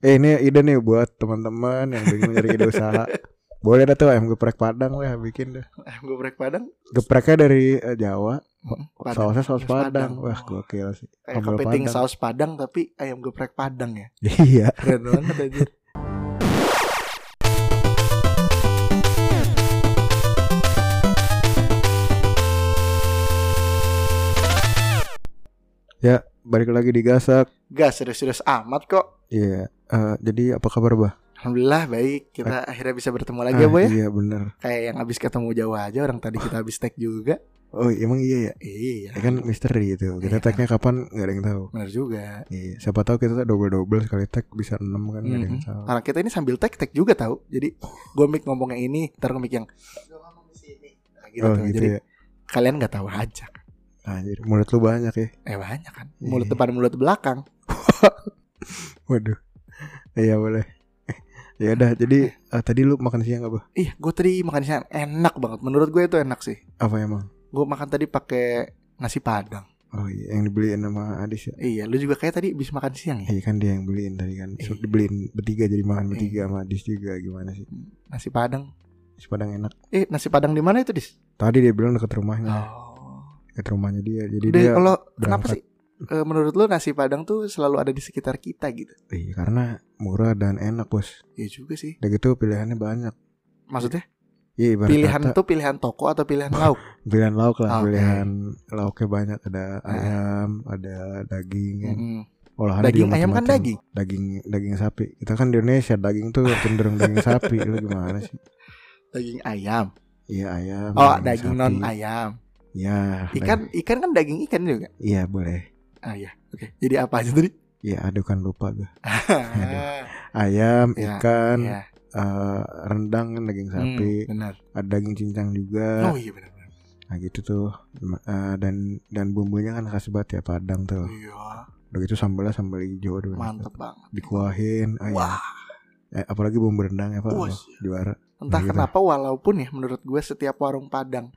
Eh ini ide nih buat teman-teman yang bingung nyari ide usaha. Boleh dah tuh ayam geprek Padang lah bikin dah. Ayam geprek Padang Gepreknya dari eh, Jawa, Padang sausnya saus Saus Padang. Padang. Wah, gokil sih. Kayak sambal kepiting Padang. saus Padang Tapi ayam geprek Padang ya Iya. Keren banget aja Balik lagi di Gasak. Gak serius-serius amat kok Iya. Eh, jadi apa kabar, Bah? Alhamdulillah baik Eh. Kita akhirnya bisa bertemu lagi ya Ah, Boy ya Iya, bener. Kayak yang abis ketemu jauh aja Orang tadi kita abis tag juga Oh, emang iya ya. Iya Ya kan misteri itu. Kita Iya. tagnya kapan nggak ada yang tahu. Bener juga Iya, siapa tahu kita double-double sekali tag bisa 6 kan nggak ada yang Mhm. tahu. Karena kita ini sambil tag tag juga tahu. Jadi gue mic ngomong yang ini, ntar gue mic yang Nah, gitu oh, tuh. gitu Jadi ya. kalian nggak tahu aja. Anjir, mulut lu banyak ya. Eh banyak kan. Mulut Iya. depan mulut belakang. Waduh. Iya, boleh. ya udah, jadi ah, tadi lu makan siang apa? Ih, gue tadi makan siang enak banget. Menurut gue itu enak sih. Apa emang? Gue makan tadi pakai nasi padang. Oh iya, yang dibeliin sama Adis ya. Iya, lu juga kayak tadi bisa makan siang ya. Iya kan dia yang beliin tadi kan. So, Iya. dibeliin bertiga jadi makan Iya. bertiga sama Adis juga gimana sih? Nasi padang. Sepadang enak. Eh, nasi padang di mana itu, Dis? Tadi dia bilang deket rumahnya, Oh. deket rumahnya dia. Nah, Jadi Jadi dia kalau kenapa berangkat. sih? Eh, menurut lu nasi padang tuh selalu ada di sekitar kita gitu. Iya, karena murah dan enak, Bos. Iya juga sih. Udah gitu pilihannya banyak. Maksudnya Iya, ibarat pilihan kata- tuh pilihan toko atau pilihan lauk? pilihan lauk lah Oke. pilihan lauknya banyak ada ayam ada daging kan. Mm-mm. olahan Daging ayam kan daging. daging daging sapi kita kan di Indonesia daging tuh cenderung daging sapi lu gimana sih Daging ayam. iya ayam Oh, daging non sapi. ayam. iya daging- Ikan ikan kan daging ikan juga. iya boleh Ah ya. Oke. Jadi apa aja tadi? iya aduh kan lupa gue Ah, ayam Ya, ikan ya. eh, rendang kan daging sapi Hmm, benar. ada daging cincang juga Oh iya benar. benar. nah gitu tuh Eh, dan dan bumbunya kan khas banget ya padang tuh Iya, udah gitu sambalnya sambal hijau aduh, enak mantep banget. dikuahin ayam Wah, Eh, apalagi bumbu rendang ya Pak. Wah, Wah, sih. juara. entah Nah, gitu. kenapa walaupun ya menurut gue setiap warung Padang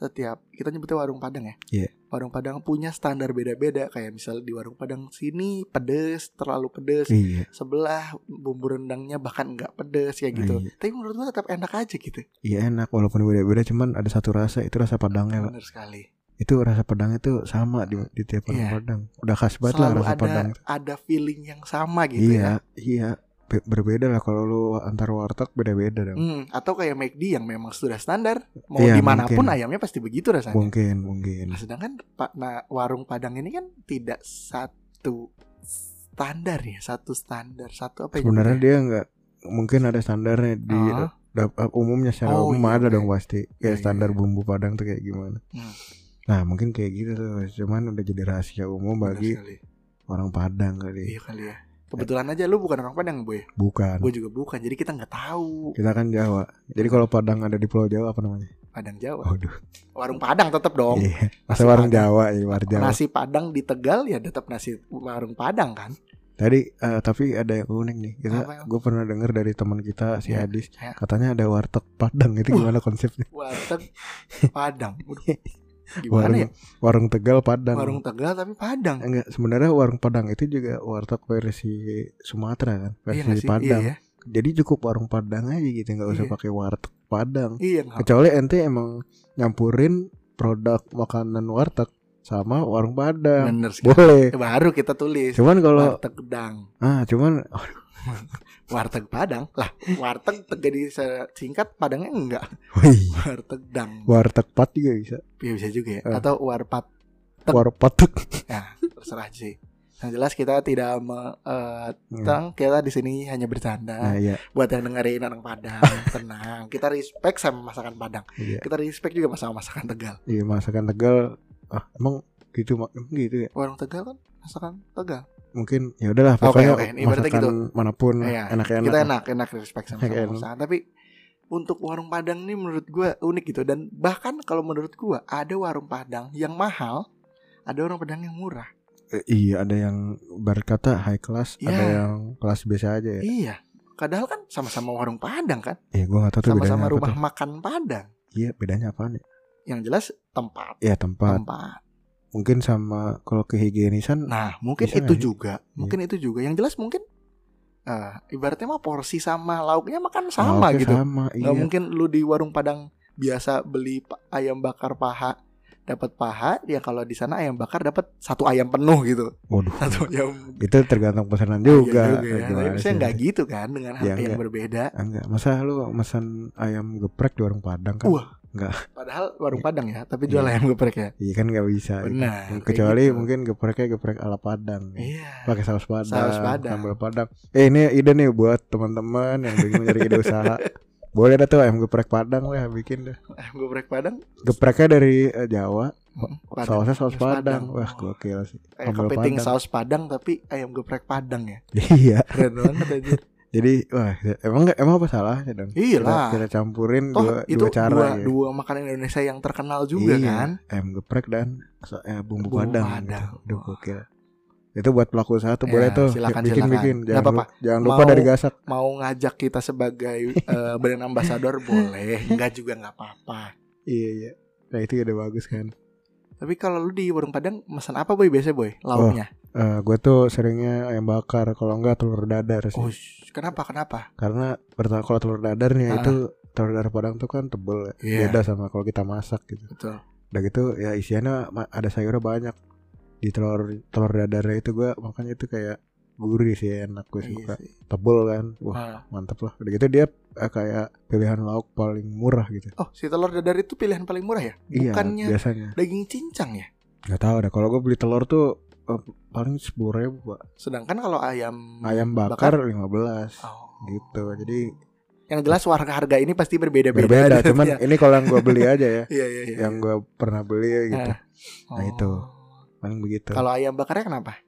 setiap kita nyebutnya warung Padang ya. Iya. Warung Padang punya standar beda-beda kayak misalnya di warung Padang sini pedes, terlalu pedes. Iya, Sebelah bumbu rendangnya bahkan nggak pedes ya gitu. Iya. Tapi menurut gue tetap enak aja gitu. iya enak walaupun beda-beda cuman ada satu rasa itu rasa padangnya, Iya, Pak. Benar sekali. Itu rasa padangnya tuh sama di, di tiap orang Iya. Padang. Udah khas banget lah selalu rasa ada Padang. ada feeling yang sama gitu iya, ya. iya. Be- berbeda lah kalau lu antar warteg beda-beda dong. Hmm, atau kayak McD yang memang sudah standar mau Iya, dimanapun mungkin. ayamnya pasti begitu rasanya. Mungkin, mungkin. Nah, sedangkan Pak nah, warung Padang ini kan tidak satu standar ya, satu standar, satu apa ya Sebenarnya nyebutnya? dia nggak mungkin ada standarnya di Ah, dap- umumnya secara Oh, umum iya, ada oke. dong pasti Iya, kayak iya, standar iya. bumbu Padang tuh kayak gimana. Hmm. Nah, mungkin kayak gitu tuh. Cuman udah jadi rahasia umum benar bagi sekali. orang Padang kali. Iya kali ya. Kebetulan aja lu bukan orang Padang, Boy. Bukan. Gue juga bukan, jadi kita nggak tahu Kita kan Jawa. Jadi kalau Padang ada di Pulau Jawa apa namanya? Padang Jawa. Waduh. Warung Padang tetap Oh. dong. Iya. Nasi Masa warung Padang. Jawa ya, warung Jawa. Nasi Padang di Tegal ya tetap nasi warung Padang kan. Tadi eh, tapi ada yang unik nih. Kita Apa yang- gue pernah dengar dari teman kita si Iya, Adis iya. katanya ada warteg Padang. Itu Wah. gimana konsepnya? Warteg Padang. Waduh, Gimana Warung ya? warung Tegal Padang. Warung Tegal tapi Padang. Enggak, sebenarnya warung Padang itu juga warteg versi Sumatera kan, iya nggak versi sih? Padang. Iya, ya. Jadi cukup warung Padang aja gitu, nggak usah Iya. pakai warteg Padang. iya nggak- Kecuali ente emang nyampurin produk makanan warteg sama warung Padang. bener sekali. Boleh. Eh, Baru kita tulis Cuman kalau warteg Padang, ah cuman warteg Padang lah. Warteg te- jadi se- singkat Padangnya enggak. wih, Warteg Dang. warteg pat juga bisa. Ya, bisa juga ya. Eh. Atau warpat Teg. Warpat. terserah aja sih. Yang jelas kita tidak me, eh, tang, kita di sini hanya bercanda. Nah, iya. Buat yang dengerin orang Padang, tenang. Kita respect sama masakan Padang. Iya. Kita respect juga sama masakan Tegal. Iya, masakan Tegal ah emang gitu mak- emang gitu ya. Warung Tegal kan masakan Tegal. Mungkin ya udahlah Oke, pokoknya oke. Ini berarti gitu. masakan manapun Iya, enak-enak. kita enak enak respect sama, sama Enak. masakan tapi untuk warung padang ini menurut gua unik gitu dan bahkan kalau menurut gua ada warung padang yang mahal ada orang padang yang murah Eh, Iya, ada yang berkata high class, Iya. ada yang kelas biasa aja ya. iya padahal kan sama-sama warung padang kan Eh, gua enggak tahu tuh bedanya sama-sama apa rumah tuh. makan padang Iya, bedanya apa nih? yang jelas tempat Ya tempat. tempat Mungkin sama kalau kehigienisan nah mungkin Bisa itu nggak sih? juga mungkin itu juga yang jelas mungkin eh, ibaratnya mah porsi sama lauknya makan sama Lauknya gitu. Sama, iya. Nggak mungkin lu di warung Padang biasa beli pa- ayam bakar paha dapat paha ya kalau di sana ayam bakar dapat satu ayam penuh gitu Waduh. satu ayam Itu tergantung pesanan juga. Iya ya. Gimana Tapi sih? saya nggak gitu kan dengan Ya, harga yang nggak. berbeda Ah, Enggak, masa lu pesan ayam geprek di warung Padang kan? Wah. padahal warung Padang ya tapi jual Iya. ayam geprek ya Iya kan nggak bisa. benar kayak Kecuali gitu. mungkin gepreknya geprek ala Padang. iya pakai saus padang, Saus padang. sambal padang. Eh ini ide nih buat teman-teman yang bingung nyari ide usaha. Boleh dah tuh ayam geprek padang lah bikin dah. ayam geprek Padang Gepreknya dari eh, Jawa, mm, Padang. sausnya saus Saus padang. padang. Oh. Wah, gokil sih. Kayak sambal kepiting Padang. saus Padang tapi ayam geprek Padang ya Iya. keren banget aja Jadi wah emang nggak emang apa salahnya dong? iya Kita, lah kita campurin toh dua, itu dua cara dua, ya. dua makanan Indonesia yang terkenal juga Iya, kan Ayam geprek dan so- eh, bumbu, Bumbu padang. padang. Gitu. Aduh, gokil. Itu buat pelaku usaha tuh boleh Ya, tuh silakan, bikin silakan. bikin. Nggak Jangan, apa-apa. lupa, jangan lupa Mau- dari gasak. mau ngajak kita sebagai eh, brand ambassador boleh enggak juga nggak apa-apa Iya iya. Nah itu udah bagus kan. tapi kalau lu di warung Padang pesan apa boy biasanya boy lauknya Eh gue tuh seringnya ayam bakar kalau enggak telur dadar sih oh. kenapa kenapa karena pertama kalau telur dadar nih Ah. itu telur dadar padang tuh kan tebel ya. Iya. beda sama kalau kita masak gitu betul udah gitu ya isiannya ma- ada sayurnya banyak di telur telur dadarnya itu gue makanya itu kayak gurih sih enak gue Iya suka sih. tebel kan wah Ah. mantep lah udah gitu dia eh, kayak pilihan lauk paling murah gitu oh si telur dadar itu pilihan paling murah ya iya bukannya biasanya daging cincang ya nggak tahu deh kalau gue beli telur tuh eh, paling sepuluh ribu sedangkan kalau ayam ayam bakar lima belas Hmm, oh. gitu jadi yang jelas warga harga ini pasti berbeda-beda berbeda cuman Iya, ini kalau yang gue beli aja ya iya iya iya. yang gue pernah beli gitu nah, Oh. itu. paling begitu kalau ayam bakarnya kenapa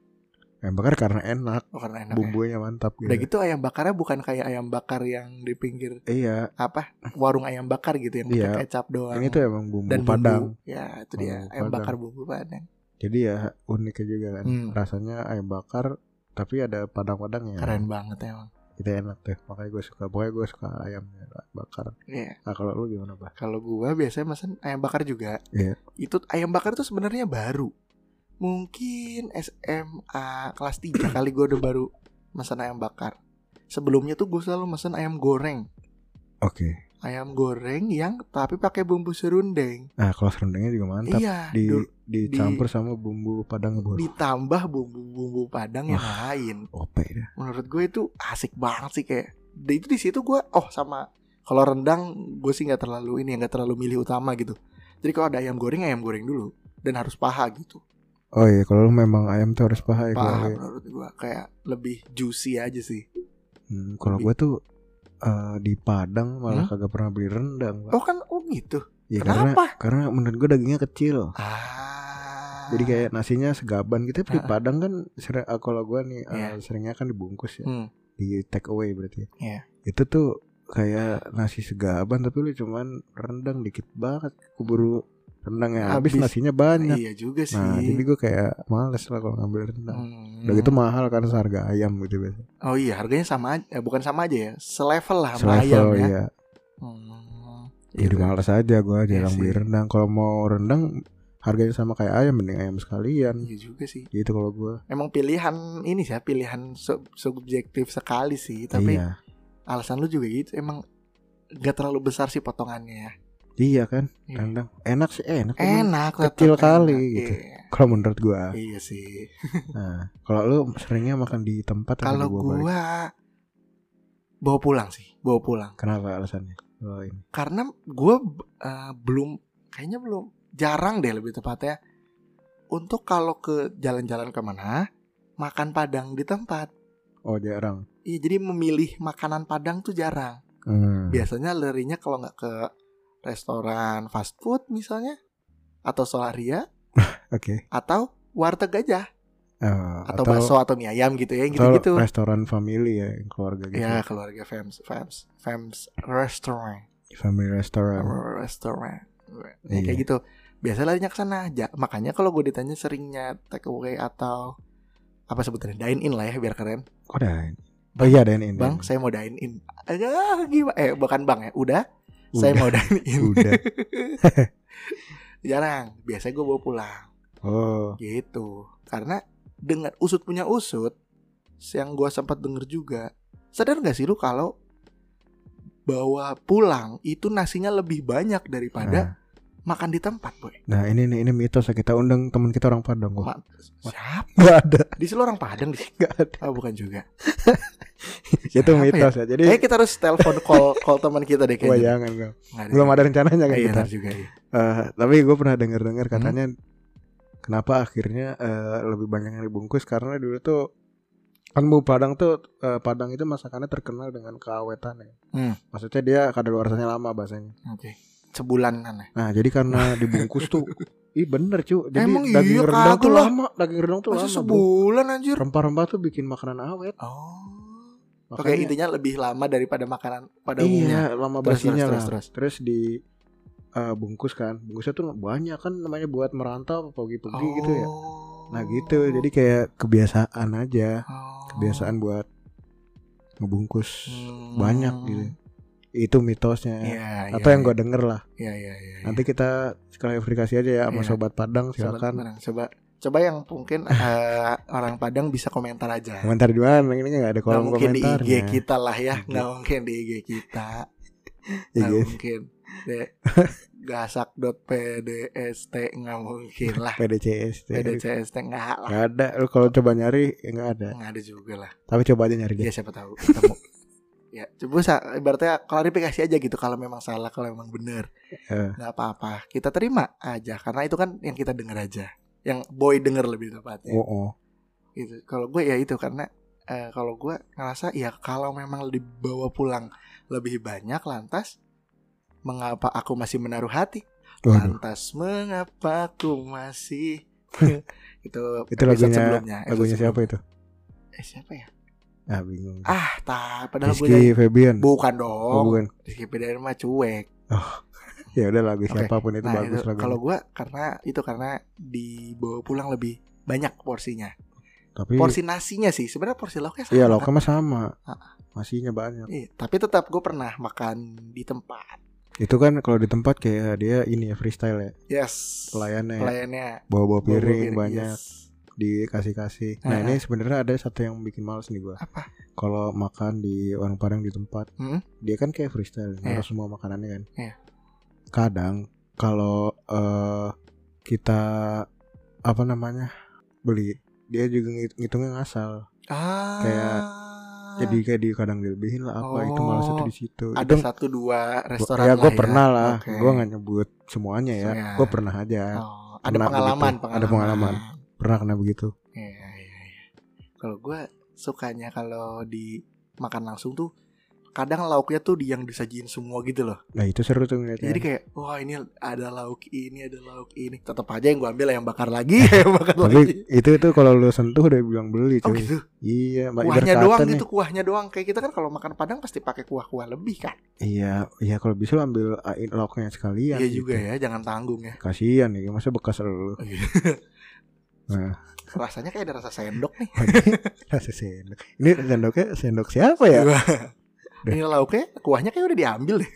ayam bakar karena enak oh, karena enak ya. bumbunya mantap gitu, Udah gitu ayam bakarnya bukan kayak ayam bakar yang di pinggir iya apa warung ayam bakar gitu yang Iya. pakai kecap doang. ini tuh emang bumbu dan bumbu. padang Ya itu dia Bumbu ayam padang. bakar bumbu padang. jadi ya uniknya juga kan Hmm. rasanya ayam bakar tapi ada padang-padangnya Keren banget emang. itu enak tuh makanya gue suka pokoknya gue suka ayamnya bakar Iya. nah kalau lu gimana pak Kalau gua biasanya mesen ayam bakar juga. Iya. Itu ayam bakar itu sebenarnya baru. Mungkin SMA kelas 3 kali gua udah baru mesen ayam bakar. Sebelumnya tuh gue selalu mesen ayam goreng. oke Ayam goreng yang tapi pakai bumbu serundeng. nah kalau serundengnya juga mantap iya. di dur- dicampur sama bumbu padang bolu ditambah bumbu-bumbu padang yang lain. ope dah menurut gue itu asik banget sih kayak di itu di situ gue oh sama kalau rendang gue sih nggak terlalu ini nggak terlalu milih utama gitu jadi kalau ada ayam goreng ayam goreng dulu dan harus paha gitu oh iya kalau lu memang ayam tuh harus paha ya kalau paha iya. menurut gue kayak lebih juicy aja sih Hmm, kalau gue tuh eh, di Padang malah kagak pernah beli rendang, Pak. oh kan oh gitu Ya, Iya. karena kenapa karena menurut gue dagingnya kecil. ah Jadi kayak nasinya segaban gitu Tapi di Ah. Padang kan sering, eh, kalau gue nih eh, Iya. seringnya kan dibungkus ya, Hmm. di take away berarti. ya. Iya. Itu tuh kayak nasi segaban tapi lu cuman rendang dikit banget keburu rendangnya habis, Habis. nasinya banyak. iya juga sih kan, Nah, jadi gue kayak males lah kalau ngambil rendang. Hmm. Udah gitu mahal kan seharga ayam gitu biasa. oh iya harganya sama aja eh, bukan sama aja ya selevel lah sama ayam Selevel ya ya. Hmm, Jadi gitu. males aja gue Iya jarang sih. beli rendang. Kalau mau rendang harganya sama kayak ayam mending ayam sekalian. iya juga sih Gitu kalau gue. emang pilihan ini sih ya, pilihan sub- subjektif sekali sih tapi Iya. alasan lu juga gitu emang gak terlalu besar sih potongannya ya Iya kan? Iya. Rendang enak sih eh, enak. cuman enak kecil tetap kali enak. gitu. Iya. Kalau menurut gue. iya sih Nah, kalau lu seringnya makan di tempat atau kalau dibawa balik? gua bawa pulang sih bawa pulang kenapa alasannya? Kalau ini. karena gua eh, belum kayaknya belum jarang deh lebih tepatnya untuk kalau ke jalan-jalan kemana makan padang di tempat Oh jarang. iya jadi memilih makanan padang tuh jarang Hmm. biasanya larinya kalau nggak ke restoran fast food misalnya atau solaria Oke. atau warteg aja Eh, atau, bakso atau mie ayam gitu ya atau gitu-gitu restoran family ya yang keluarga gitu. ya keluarga fams fams fams restaurant Family restaurant. restaurant Iya. Ya, kayak gitu biasanya larinya ke sana Ja- makanya kalau gue ditanya seringnya take away atau apa sebutannya dine in lah ya biar keren Kok ada? Oh iya ada ini. bang saya mau dine in ah gimana eh bukan bang ya udah, saya Udah. mau dine in Udah. jarang biasanya gue bawa pulang Oh. gitu karena dengan usut punya usut yang gua sempat denger juga Sadar nggak sih lu kalau bawa pulang itu nasinya lebih banyak daripada makan di tempat, boy. Nah, ini nih ini mitos ya kita undang teman kita orang Padang kok. Ma- siap. Enggak ada, Di sini orang Padang di enggak ada. Ah, bukan juga. Itu Apa ya? mitos ya. Jadi Eh kita harus telepon call call teman kita deh Wah kayaknya. jangan bro. Nggak ada. Belum ada rencananya Ah, kan gitu. iya, Hmm? kita. ntar juga. iya. Eh, tapi gue pernah dengar-dengar katanya kenapa akhirnya eh, lebih banyak yang dibungkus karena dulu tuh kan bu Padang tuh eh, Padang itu masakannya terkenal dengan keawetannya. Hmm. Maksudnya dia kadaluarsanya lama bahasanya. Oke. Sebulanan ya. Nah, jadi karena dibungkus tuh Ih bener cu Jadi Emang daging iya, rendang tuh kagak lah. lama Daging rendang tuh Masa lama bro. sebulan anjir? Rempah-rempah tuh bikin makanan awet Oh. Oke, Makanya- intinya lebih lama daripada makanan pada umumnya. Iya lama Terus, basinya terus, lah terus, terus, di eh, bungkus kan Bungkusnya tuh banyak kan namanya buat merantau Pergi-pergi gitu Oh. ya Nah gitu jadi kayak kebiasaan aja Kebiasaan buat ngebungkus banyak gitu Itu mitosnya Hmm. Oh. Iya, Atau iya, yang gue denger lah Iya, iya, iya. iya. Nanti kita klarifikasi aja ya sama Iya. Sobat Padang Sobat silakan Padang, coba coba yang mungkin eh, orang Padang bisa komentar aja. Komentar di mana ini nggak ada Nggak kolom mungkin di komentar IG kita lah ya, nggak mungkin di IG kita. Nggak mungkin. De, gasak.pdst nggak mungkin lah. PDCS PDCST nggak lah. Gak ada Lu kalau coba nyari ya nggak ada Nggak ada juga lah. Tapi coba aja nyari deh Ya siapa tahu ketemu. ya, coba sa- ibaratnya klarifikasi aja gitu kalau memang salah, kalau memang benar. Eh. nggak apa-apa. Kita terima aja karena itu kan yang kita dengar aja. Yang boy denger lebih tepatnya. Oh, oh. Gitu. Kalau gue ya itu karena eh, kalau gue ngerasa ya kalau memang dibawa pulang lebih banyak lantas mengapa aku masih menaruh hati? Waduh. Lantas mengapa aku masih itu Itu episode lagunya- sebelumnya, episode Lagunya siapa sebelumnya. itu? Eh, siapa ya? Ah bingung. Ah, tak padahal gue Rizky Febian. Bukan Oh, dong. bukan. Rizky Febian mah cuek. Ya udah lagu Oke. siapapun itu nah, bagus itu lagu. kalau gua karena itu karena dibawa pulang lebih banyak porsinya. Tapi Porsi nasinya sih sebenarnya porsi lauknya sama. iya kan? lauknya mah sama. Ah. Masihnya banyak. Iya, tapi tetap gue pernah makan di tempat. Itu kan kalau di tempat kayak dia ini ya freestyle ya. Yes. Pelayannya ya, Pelayannya bawa-bawa bawa-bawa piring banyak yes. dikasih-kasih. Nah, Ah. ini sebenarnya ada satu yang bikin males nih gua. Apa? Kalau makan di orang Padang di tempat, Hmm? dia kan kayak freestyle, Iya. harus semua makanannya kan. Iya. Kadang kalau eh kita apa namanya? beli, dia juga ngit- ngitungnya ngasal. Ah. Kayak jadi kayak di kadang dilebihin lah apa itu malah satu Oh, di situ ada itu satu dua restoran ya lah gue pernah lah Oke. gue nggak nyebut semuanya ya Iya. gue pernah aja Oh, ada Pernah pengalaman, begitu. pengalaman. Ada pengalaman. pernah kena begitu Iya, iya, iya. Kalau gue sukanya kalau dimakan langsung tuh kadang lauknya tuh di yang disajiin semua gitu loh. nah itu seru tuh ngeliatnya Jadi kayak wah ini ada lauk ini, ada lauk ini. Tetap aja yang gue ambil yang bakar lagi, yang bakar tapi lagi. itu tuh kalau lu sentuh udah bilang beli Oh cuy gitu. iya mbak Kuahnya ibarat doang kata nih gitu, kuahnya doang. Kayak kita kan kalau makan Padang pasti pakai kuah-kuah lebih kan. iya iya kalau bisa lu ambil ah, in- lauknya sekalian Iya gitu. juga ya, jangan tanggung ya. kasian ya masa bekas lu Nah. Rasanya kayak ada rasa sendok nih. rasa sendok ini sendoknya sendok siapa ya Iya. Ini lauknya, kuahnya kayak udah diambil deh.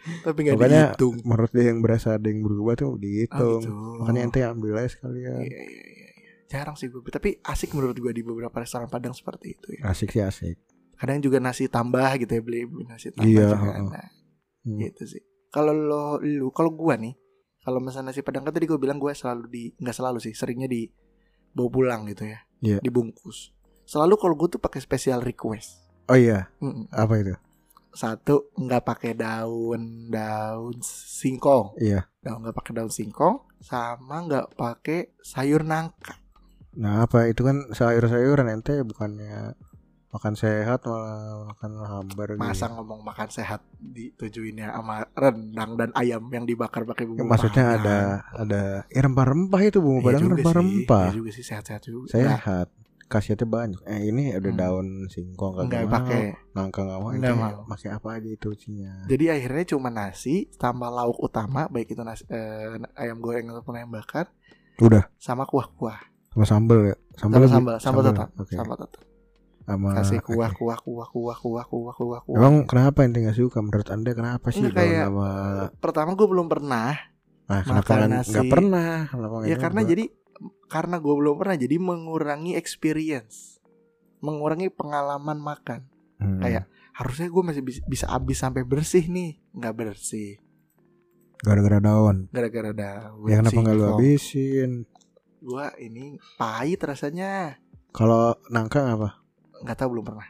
Tapi nggak Makanya dihitung. menurut dia yang berasa ada yang berubah tuh Oh, dihitung gitu. makanya ente ambil aja sekalian Iya, iya, iya, iya. Jarang sih gue, tapi asik menurut gue di beberapa restoran Padang seperti itu ya. asik sih asik Kadang juga nasi tambah gitu ya beli beli nasi tambah Iya, juga. heeh. Nah, Hmm. gitu sih. Kalau lo lu kalau gua nih, kalau pesan nasi Padang kan tadi gue bilang gue selalu di nggak selalu sih, seringnya di bawa pulang gitu ya. Iya. Dibungkus. Selalu kalau gue tuh pakai special request. oh iya Mm-mm. apa itu Satu nggak pakai daun daun singkong. Iya. Daun nggak pakai daun singkong, sama nggak pakai sayur nangka. Nah apa itu kan sayur-sayuran ente bukannya makan sehat malah makan hambar gitu. masa ngomong makan sehat ditujuinnya sama rendang dan ayam yang dibakar pakai Ya, bumbu maksudnya padang. ada ada ya, rempah-rempah itu bumbu Iya padang juga sih, rempah-rempah. iya juga sih sehat-sehat juga Nggak- Sehat. Khasiatnya banyak. Eh ini ada Hmm. daun singkong nggak kagak mau, pakai nangka nggak mau, Nggak ente mau. pakai apa aja itu isinya. jadi akhirnya cuma nasi tambah lauk utama baik itu nasi, eh, ayam goreng ataupun ayam bakar Udah sama kuah-kuah sama sambel ya. sama lagi? sambal sambal tetap Oke. sambal tetap Sama kasih oke. kuah kuah kuah kuah kuah kuah kuah kuah Emang kenapa ente nggak suka menurut anda kenapa sih Nggak, daun kayak- sama Eh, pertama gue belum pernah nah, kenapa makan nggak- nasi. nggak pernah kenapa nggak ya karena nyoba? jadi karena gue belum pernah jadi mengurangi experience mengurangi pengalaman makan Hmm. Kayak harusnya gue masih bis- bisa habis sampai bersih nih nggak bersih gara-gara daun. gara-gara daun Ya kenapa nggak lu singkong. habisin? gue ini pahit rasanya Kalau nangka apa? nggak tahu belum pernah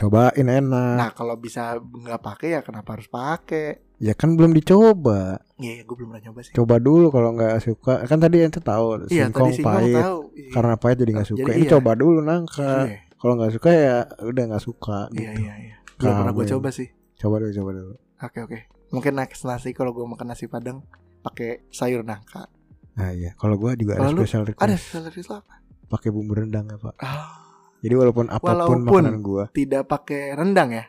Cobain enak. nah kalau bisa nggak pakai ya kenapa harus pakai Ya kan belum dicoba. Iya, gue belum pernah nyoba sih. Coba dulu kalau nggak suka. Kan tadi ente tahu Iya, tadi singkong singkong pahit. tahu. Iya. Karena pahit jadi nggak Jadi suka. Ini iya. coba dulu nangka. Iya, Kalau nggak suka ya udah nggak suka. Iya, Gitu. iya, iya. Belum pernah gue Ramen. coba sih. Coba dulu, coba dulu. Oke, oke. Mungkin next nasi kalau gue makan nasi padang pakai sayur nangka. Nah iya, kalau gua juga ada Kalau lu special Ada request selebriti apa? pakai bumbu rendang ya pak. Ah, Jadi walaupun apapun Walaupun. makanan gua, tidak pakai rendang ya?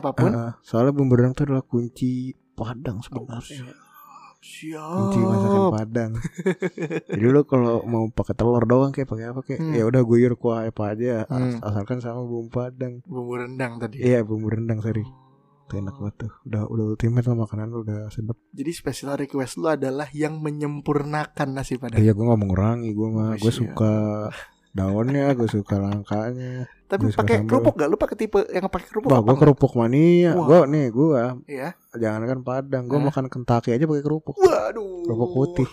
Iya, apapun. eh, soalnya bumbu rendang itu adalah kunci Padang sebenarnya. kunci Oh. masakan Siap. Padang. Jadi lu kalau mau pakai telur doang kayak pakai apa kayak Hmm. ya udah guyur kuah apa aja as- Hmm. asalkan sama bumbu Padang. Bumbu rendang tadi. Iya, bumbu rendang sorry. Itu enak banget tuh. Udah udah ultimate lah makanan lu udah sedap. Jadi special request lu adalah yang menyempurnakan nasi padang. Iya, gua nggak mengurangi gua mah. Gua Wis, iya. suka daunnya, gua suka langkanya. Tapi gue suka pakai sambal. kerupuk gak? Lu pakai tipe yang pakai kerupuk Wah, apa? gua kerupuk mania. Wah. Gua nih gua Iya. jangankan Padang, gua Hah? makan Kentucky aja pakai kerupuk. Waduh. Kerupuk putih.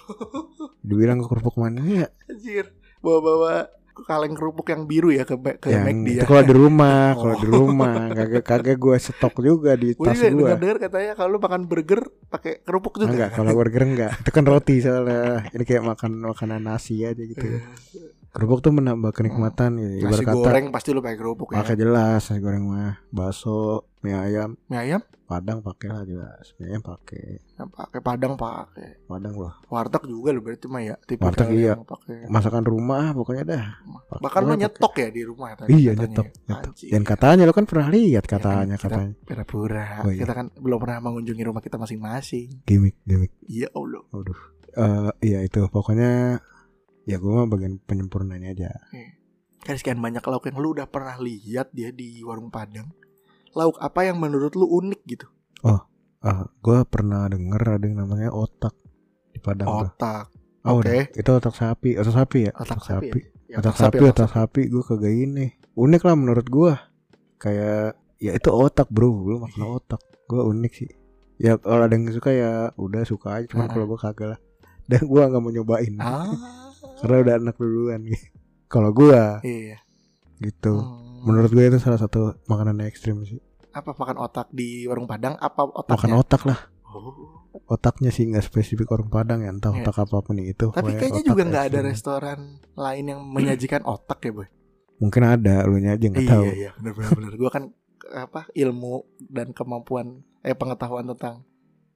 Dibilang gua kerupuk mania. Anjir. Bawa-bawa kaleng kerupuk yang biru ya ke ke yang McD itu ya. kalau di rumah, kalau di Oh. rumah kagak kagak gue stok juga di Gue tas juga gue. denger katanya kalau lu makan burger pakai kerupuk juga. Enggak, kalau burger enggak. Itu kan roti soalnya. Ini kayak makan makanan nasi aja gitu. Kerupuk tuh menambah kenikmatan gitu. Iya. Ibarat Nasi kata goreng pasti lu pakai kerupuk ya. pakai jelas nasi goreng mah, bakso, mie ayam, Mie ayam padang pakai lah jelas. Mie ayam pakai, ya pakai padang pakai. padang gua. Warteg juga lu berarti mah ya tipe Warteg iya. pakai. Masakan rumah pokoknya dah. Pakai- Bahkan lu pakai. nyetok ya di rumah tadi. Iya, katanya. nyetok, nyetok. Anjir. Dan katanya lo kan pernah lihat katanya kita- katanya Pura-pura. Oh, iya. Kita kan belum pernah mengunjungi rumah kita masing-masing. gimmick gimmick. Ya Allah. Eh iya itu pokoknya ya gua mah bagian penyempurnanya aja. Kan sekian banyak lauk yang lu udah pernah lihat dia di warung Padang. Lauk apa yang menurut lu unik gitu? Ah, gue pernah denger ada yang namanya otak di Padang tuh. Otak. Ah, Oh, oke. udah. Itu otak sapi, otak sapi ya? Otak sapi ya? Ya, Otak sapi, otak sapi gue kagak ini. Unik lah menurut gue. Kayak ya itu otak, Bro. Lu makan otak. Gue unik sih. Ya kalau ada yang suka ya udah suka aja, cuman Ah. kalau gue kagak lah. Dan gue nggak mau nyobain. Ah, Karena udah anak duluan gitu. Kalau gue iya. gitu. Hmm. Menurut gue itu salah satu makanan ekstrim sih. apa makan otak di warung Padang? Apa Makan otaknya? otak lah. Oh. Otaknya sih nggak spesifik orang Padang ya, entah Iya. otak apapun itu. Tapi pokoknya kayaknya otak juga nggak ada ekstrim. restoran lain yang menyajikan otak ya boy. Mungkin ada, lu aja nggak tahu. iya benar-benar. Gue kan apa ilmu dan kemampuan eh pengetahuan tentang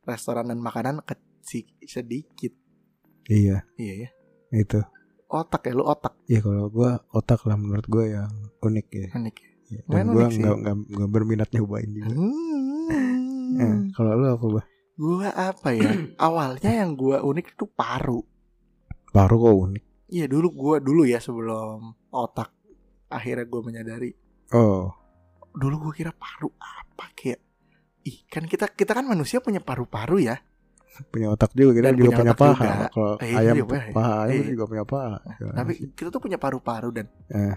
restoran dan makanan kecil sedikit. Iya, Iya ya. itu. Otak ya lu otak Ya kalau gua otak lah menurut gua yang unik ya. unik. ya. Ya, Lumayan Dan gua unik sih. nggak nggak nggak berminat nyobain juga. Eh, Hmm. kalau lu apa bah? Gua apa ya? Awalnya yang gua unik itu paru. Paru kok unik. Iya dulu gua dulu ya sebelum otak akhirnya gua menyadari Oh, dulu gua kira paru apa kayak ih kan kita kita kan manusia punya paru-paru ya punya otak juga kita Dan juga punya punya, otak paha. juga. Kalau Eh, iya ayam juga, punya iya. paha, ayam Iya. juga punya paha. Gimana tapi Ah, sih? kita tuh punya paru-paru dan Eh.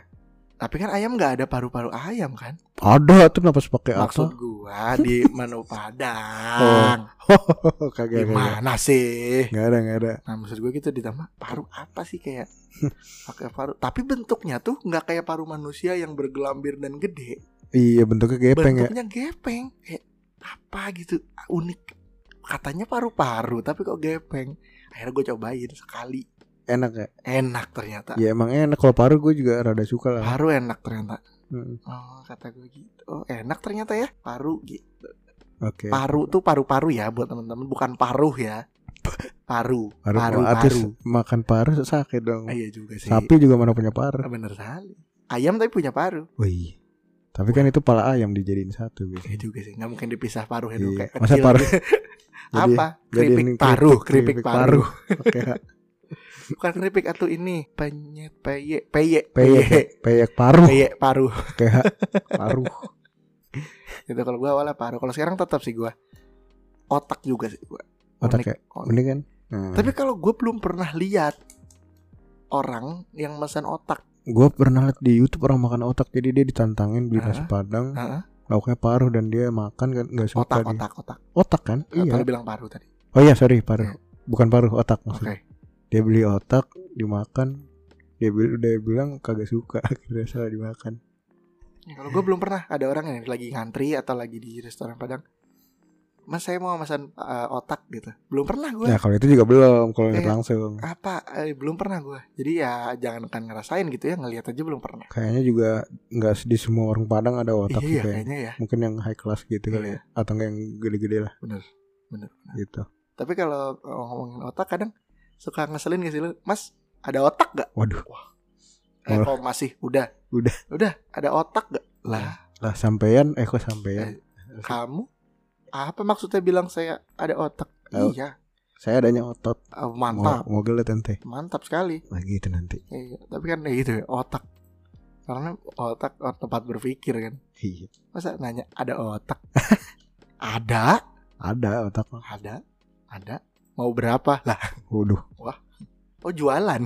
tapi kan ayam nggak ada paru-paru ayam kan ada tuh kenapa pakai maksud otak? gua di manu Oh, iya, padang kagak kagak. gimana sih Gak ada, gak ada. nah maksud gua gitu ditambah paru apa sih kayak pakai paru tapi bentuknya tuh nggak kayak paru manusia yang bergelambir dan gede Iya bentuknya gepeng ya. bentuknya gepeng kayak apa gitu unik katanya paru-paru tapi kok gepeng akhirnya gue cobain sekali Enak ya. enak ternyata Ya emang enak kalau paru gue juga rada suka lah. paru enak ternyata Mm, oh kata gue gitu oh enak ternyata ya paru gitu Oke. paru tuh paru-paru ya buat temen-temen bukan paruh ya Paru, paru oh, paru abis paru makan paru sakit dong. Ah, iya juga sih Sapi juga mana punya paru. Ah, bener sekali ayam tapi punya paru Wih. Tapi kan itu pala ayam dijadiin satu biasanya. iya juga sih nggak mungkin dipisah paruhnya dulu Iya. kayak Masa kecil. paru? Jadi- apa jadiin keripik paru keripik paru Oke. bukan keripik atau ini penyet peye peye Iya. Peyek, ya. peyek paru. peye paru Kayak paru. itu Gitu, kalau gua awalnya paru kalau sekarang tetap sih gua otak juga sih gua Otak Unik, ya. unik. Unik kan? Nah, tapi kalau gua belum pernah lihat orang yang pesan otak gue pernah liat di YouTube orang makan otak jadi dia ditantangin beli Hah? nasi padang Heeh. lauknya paruh dan dia makan kan nggak suka Otak, dia. otak, otak. Otak kan? Iya. Iya. bilang paru tadi. Oh iya sorry paruh, bukan paruh otak Oke. maksudnya. Dia beli otak dimakan. Dia bil- dia bilang kagak suka akhirnya salah dimakan. Ya, Kalau gue belum pernah ada orang yang lagi ngantri atau lagi di restoran Padang. Mas saya mau pesan eh, otak gitu. Belum pernah gue. Nah kalau itu juga belum kalau lihat Iya. langsung. Apa? eh, belum pernah gue. Jadi ya jangan kan ngerasain gitu ya. Ngelihat aja belum pernah. Kayaknya juga nggak di semua orang Padang ada otak iya sih kayaknya. kayaknya ya. Iya. Mungkin yang high class gitu kali ya atau nggak yang gede-gede lah. Bener, bener, Gitu. Tapi kalau eh, ngomongin otak kadang suka ngeselin gak sih lu? Mas ada otak gak? Waduh Eh, Oh. kok masih? Udah. Udah. Nah, Udah. Ada otak gak? Lah lah sampean, eh kok Iya. sampean? kamu apa maksudnya bilang saya ada otak? Oh. Iya. Saya adanya otot. Eh, Mau, mantap. mau gelet ente. Mantap sekali. Lagi itu nanti. Iya, tapi kan ya gitu ya, otak. Karena otak ot- tempat berpikir kan. Iya. Masa nanya ada otak? ada, Ada otak. mah. ada, ada. Mau berapa? Lah, Waduh. oh jualan.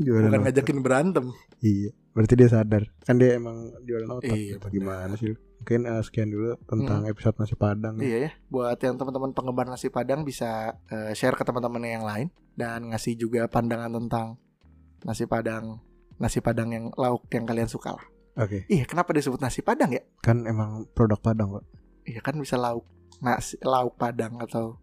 Jualan Bukan otak. ngajakin berantem. Iya, berarti dia sadar. Kan dia emang jualan otak. Iya, gitu. benar. Gimana sih? lu? Mungkin eh, sekian dulu tentang episode nasi Padang. ya. Iya ya. Buat yang teman-teman penggemar nasi Padang bisa eh, share ke teman-teman yang lain dan ngasih juga pandangan tentang nasi Padang, nasi Padang yang lauk yang kalian suka lah. Oke, Iya, kenapa disebut nasi Padang ya? kan emang produk Padang kok. Iya kan bisa lauk nasi lauk Padang atau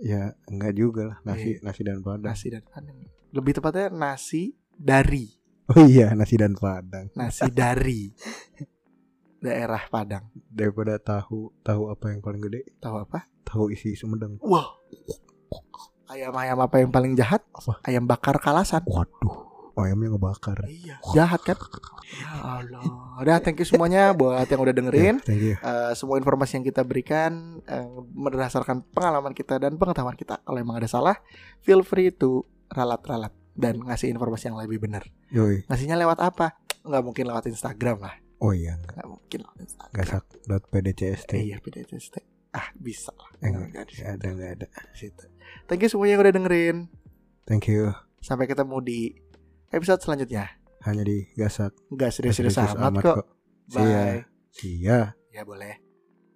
Ya, enggak juga lah nasi Iya. nasi dan Padang. nasi dan padang lebih tepatnya nasi dari Oh iya, nasi dan Padang. nasi dari daerah Padang Daripada tahu, tahu apa yang paling gede? tahu apa Tahu isi Sumedang. wah ayam ayam apa yang paling jahat Apa? ayam bakar kalasan Waduh, ayamnya ngebakar. iya jahat kan ya Allah udah thank you semuanya buat yang udah dengerin Ya, thank you. Eh, semua informasi yang kita berikan eh, berdasarkan pengalaman kita dan pengetahuan kita kalau emang ada salah feel free to ralat-ralat dan ngasih informasi yang lebih benar Yoi. ngasihnya lewat apa nggak mungkin lewat Instagram lah Oh iya, enggak. nggak mungkin lewat Instagram gasak.pdcst. Eh, Iya PDTST. Ah bisa lah. Eh, Nggak ada di Nggak ada, enggak ada. situ. Thank you semuanya yang udah dengerin. Thank you. Sampai ketemu di episode selanjutnya. Hanya di gasak. Enggak serius-serius amat kok. Iya. See ya. Bye. See ya. Ya boleh.